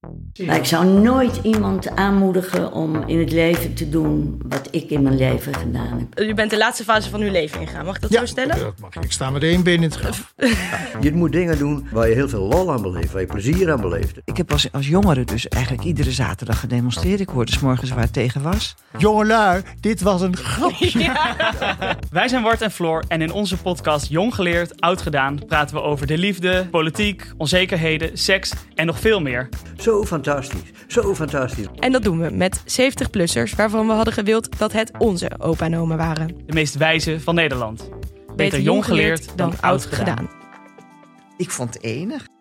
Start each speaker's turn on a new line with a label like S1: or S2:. S1: Maar Nou, ik zou nooit iemand aanmoedigen om in het leven te doen wat ik in mijn leven gedaan heb.
S2: U bent de laatste fase van uw leven ingegaan. Mag ik dat zo stellen?
S3: dat mag. Ik sta met één been in het graf.
S4: Je moet dingen doen waar je heel veel lol aan beleeft, waar je plezier aan beleeft.
S5: Ik heb als, als jongere dus eigenlijk iedere zaterdag gedemonstreerd. Ik hoorde s morgens waar het tegen was.
S3: Jongelui, dit was een grapje.
S6: Wij zijn Wart en Floor en in onze podcast Jong Geleerd, Oud Gedaan praten we over de liefde, politiek, onzekerheden, seks en nog veel meer.
S4: Zo fantastisch, zo fantastisch.
S2: En dat doen we met 70-plussers waarvan we hadden gewild dat het onze opa en oma waren. Beter,
S6: De meest wijze van Nederland. Beter jong geleerd dan oud gedaan.
S5: Ik vond het enig.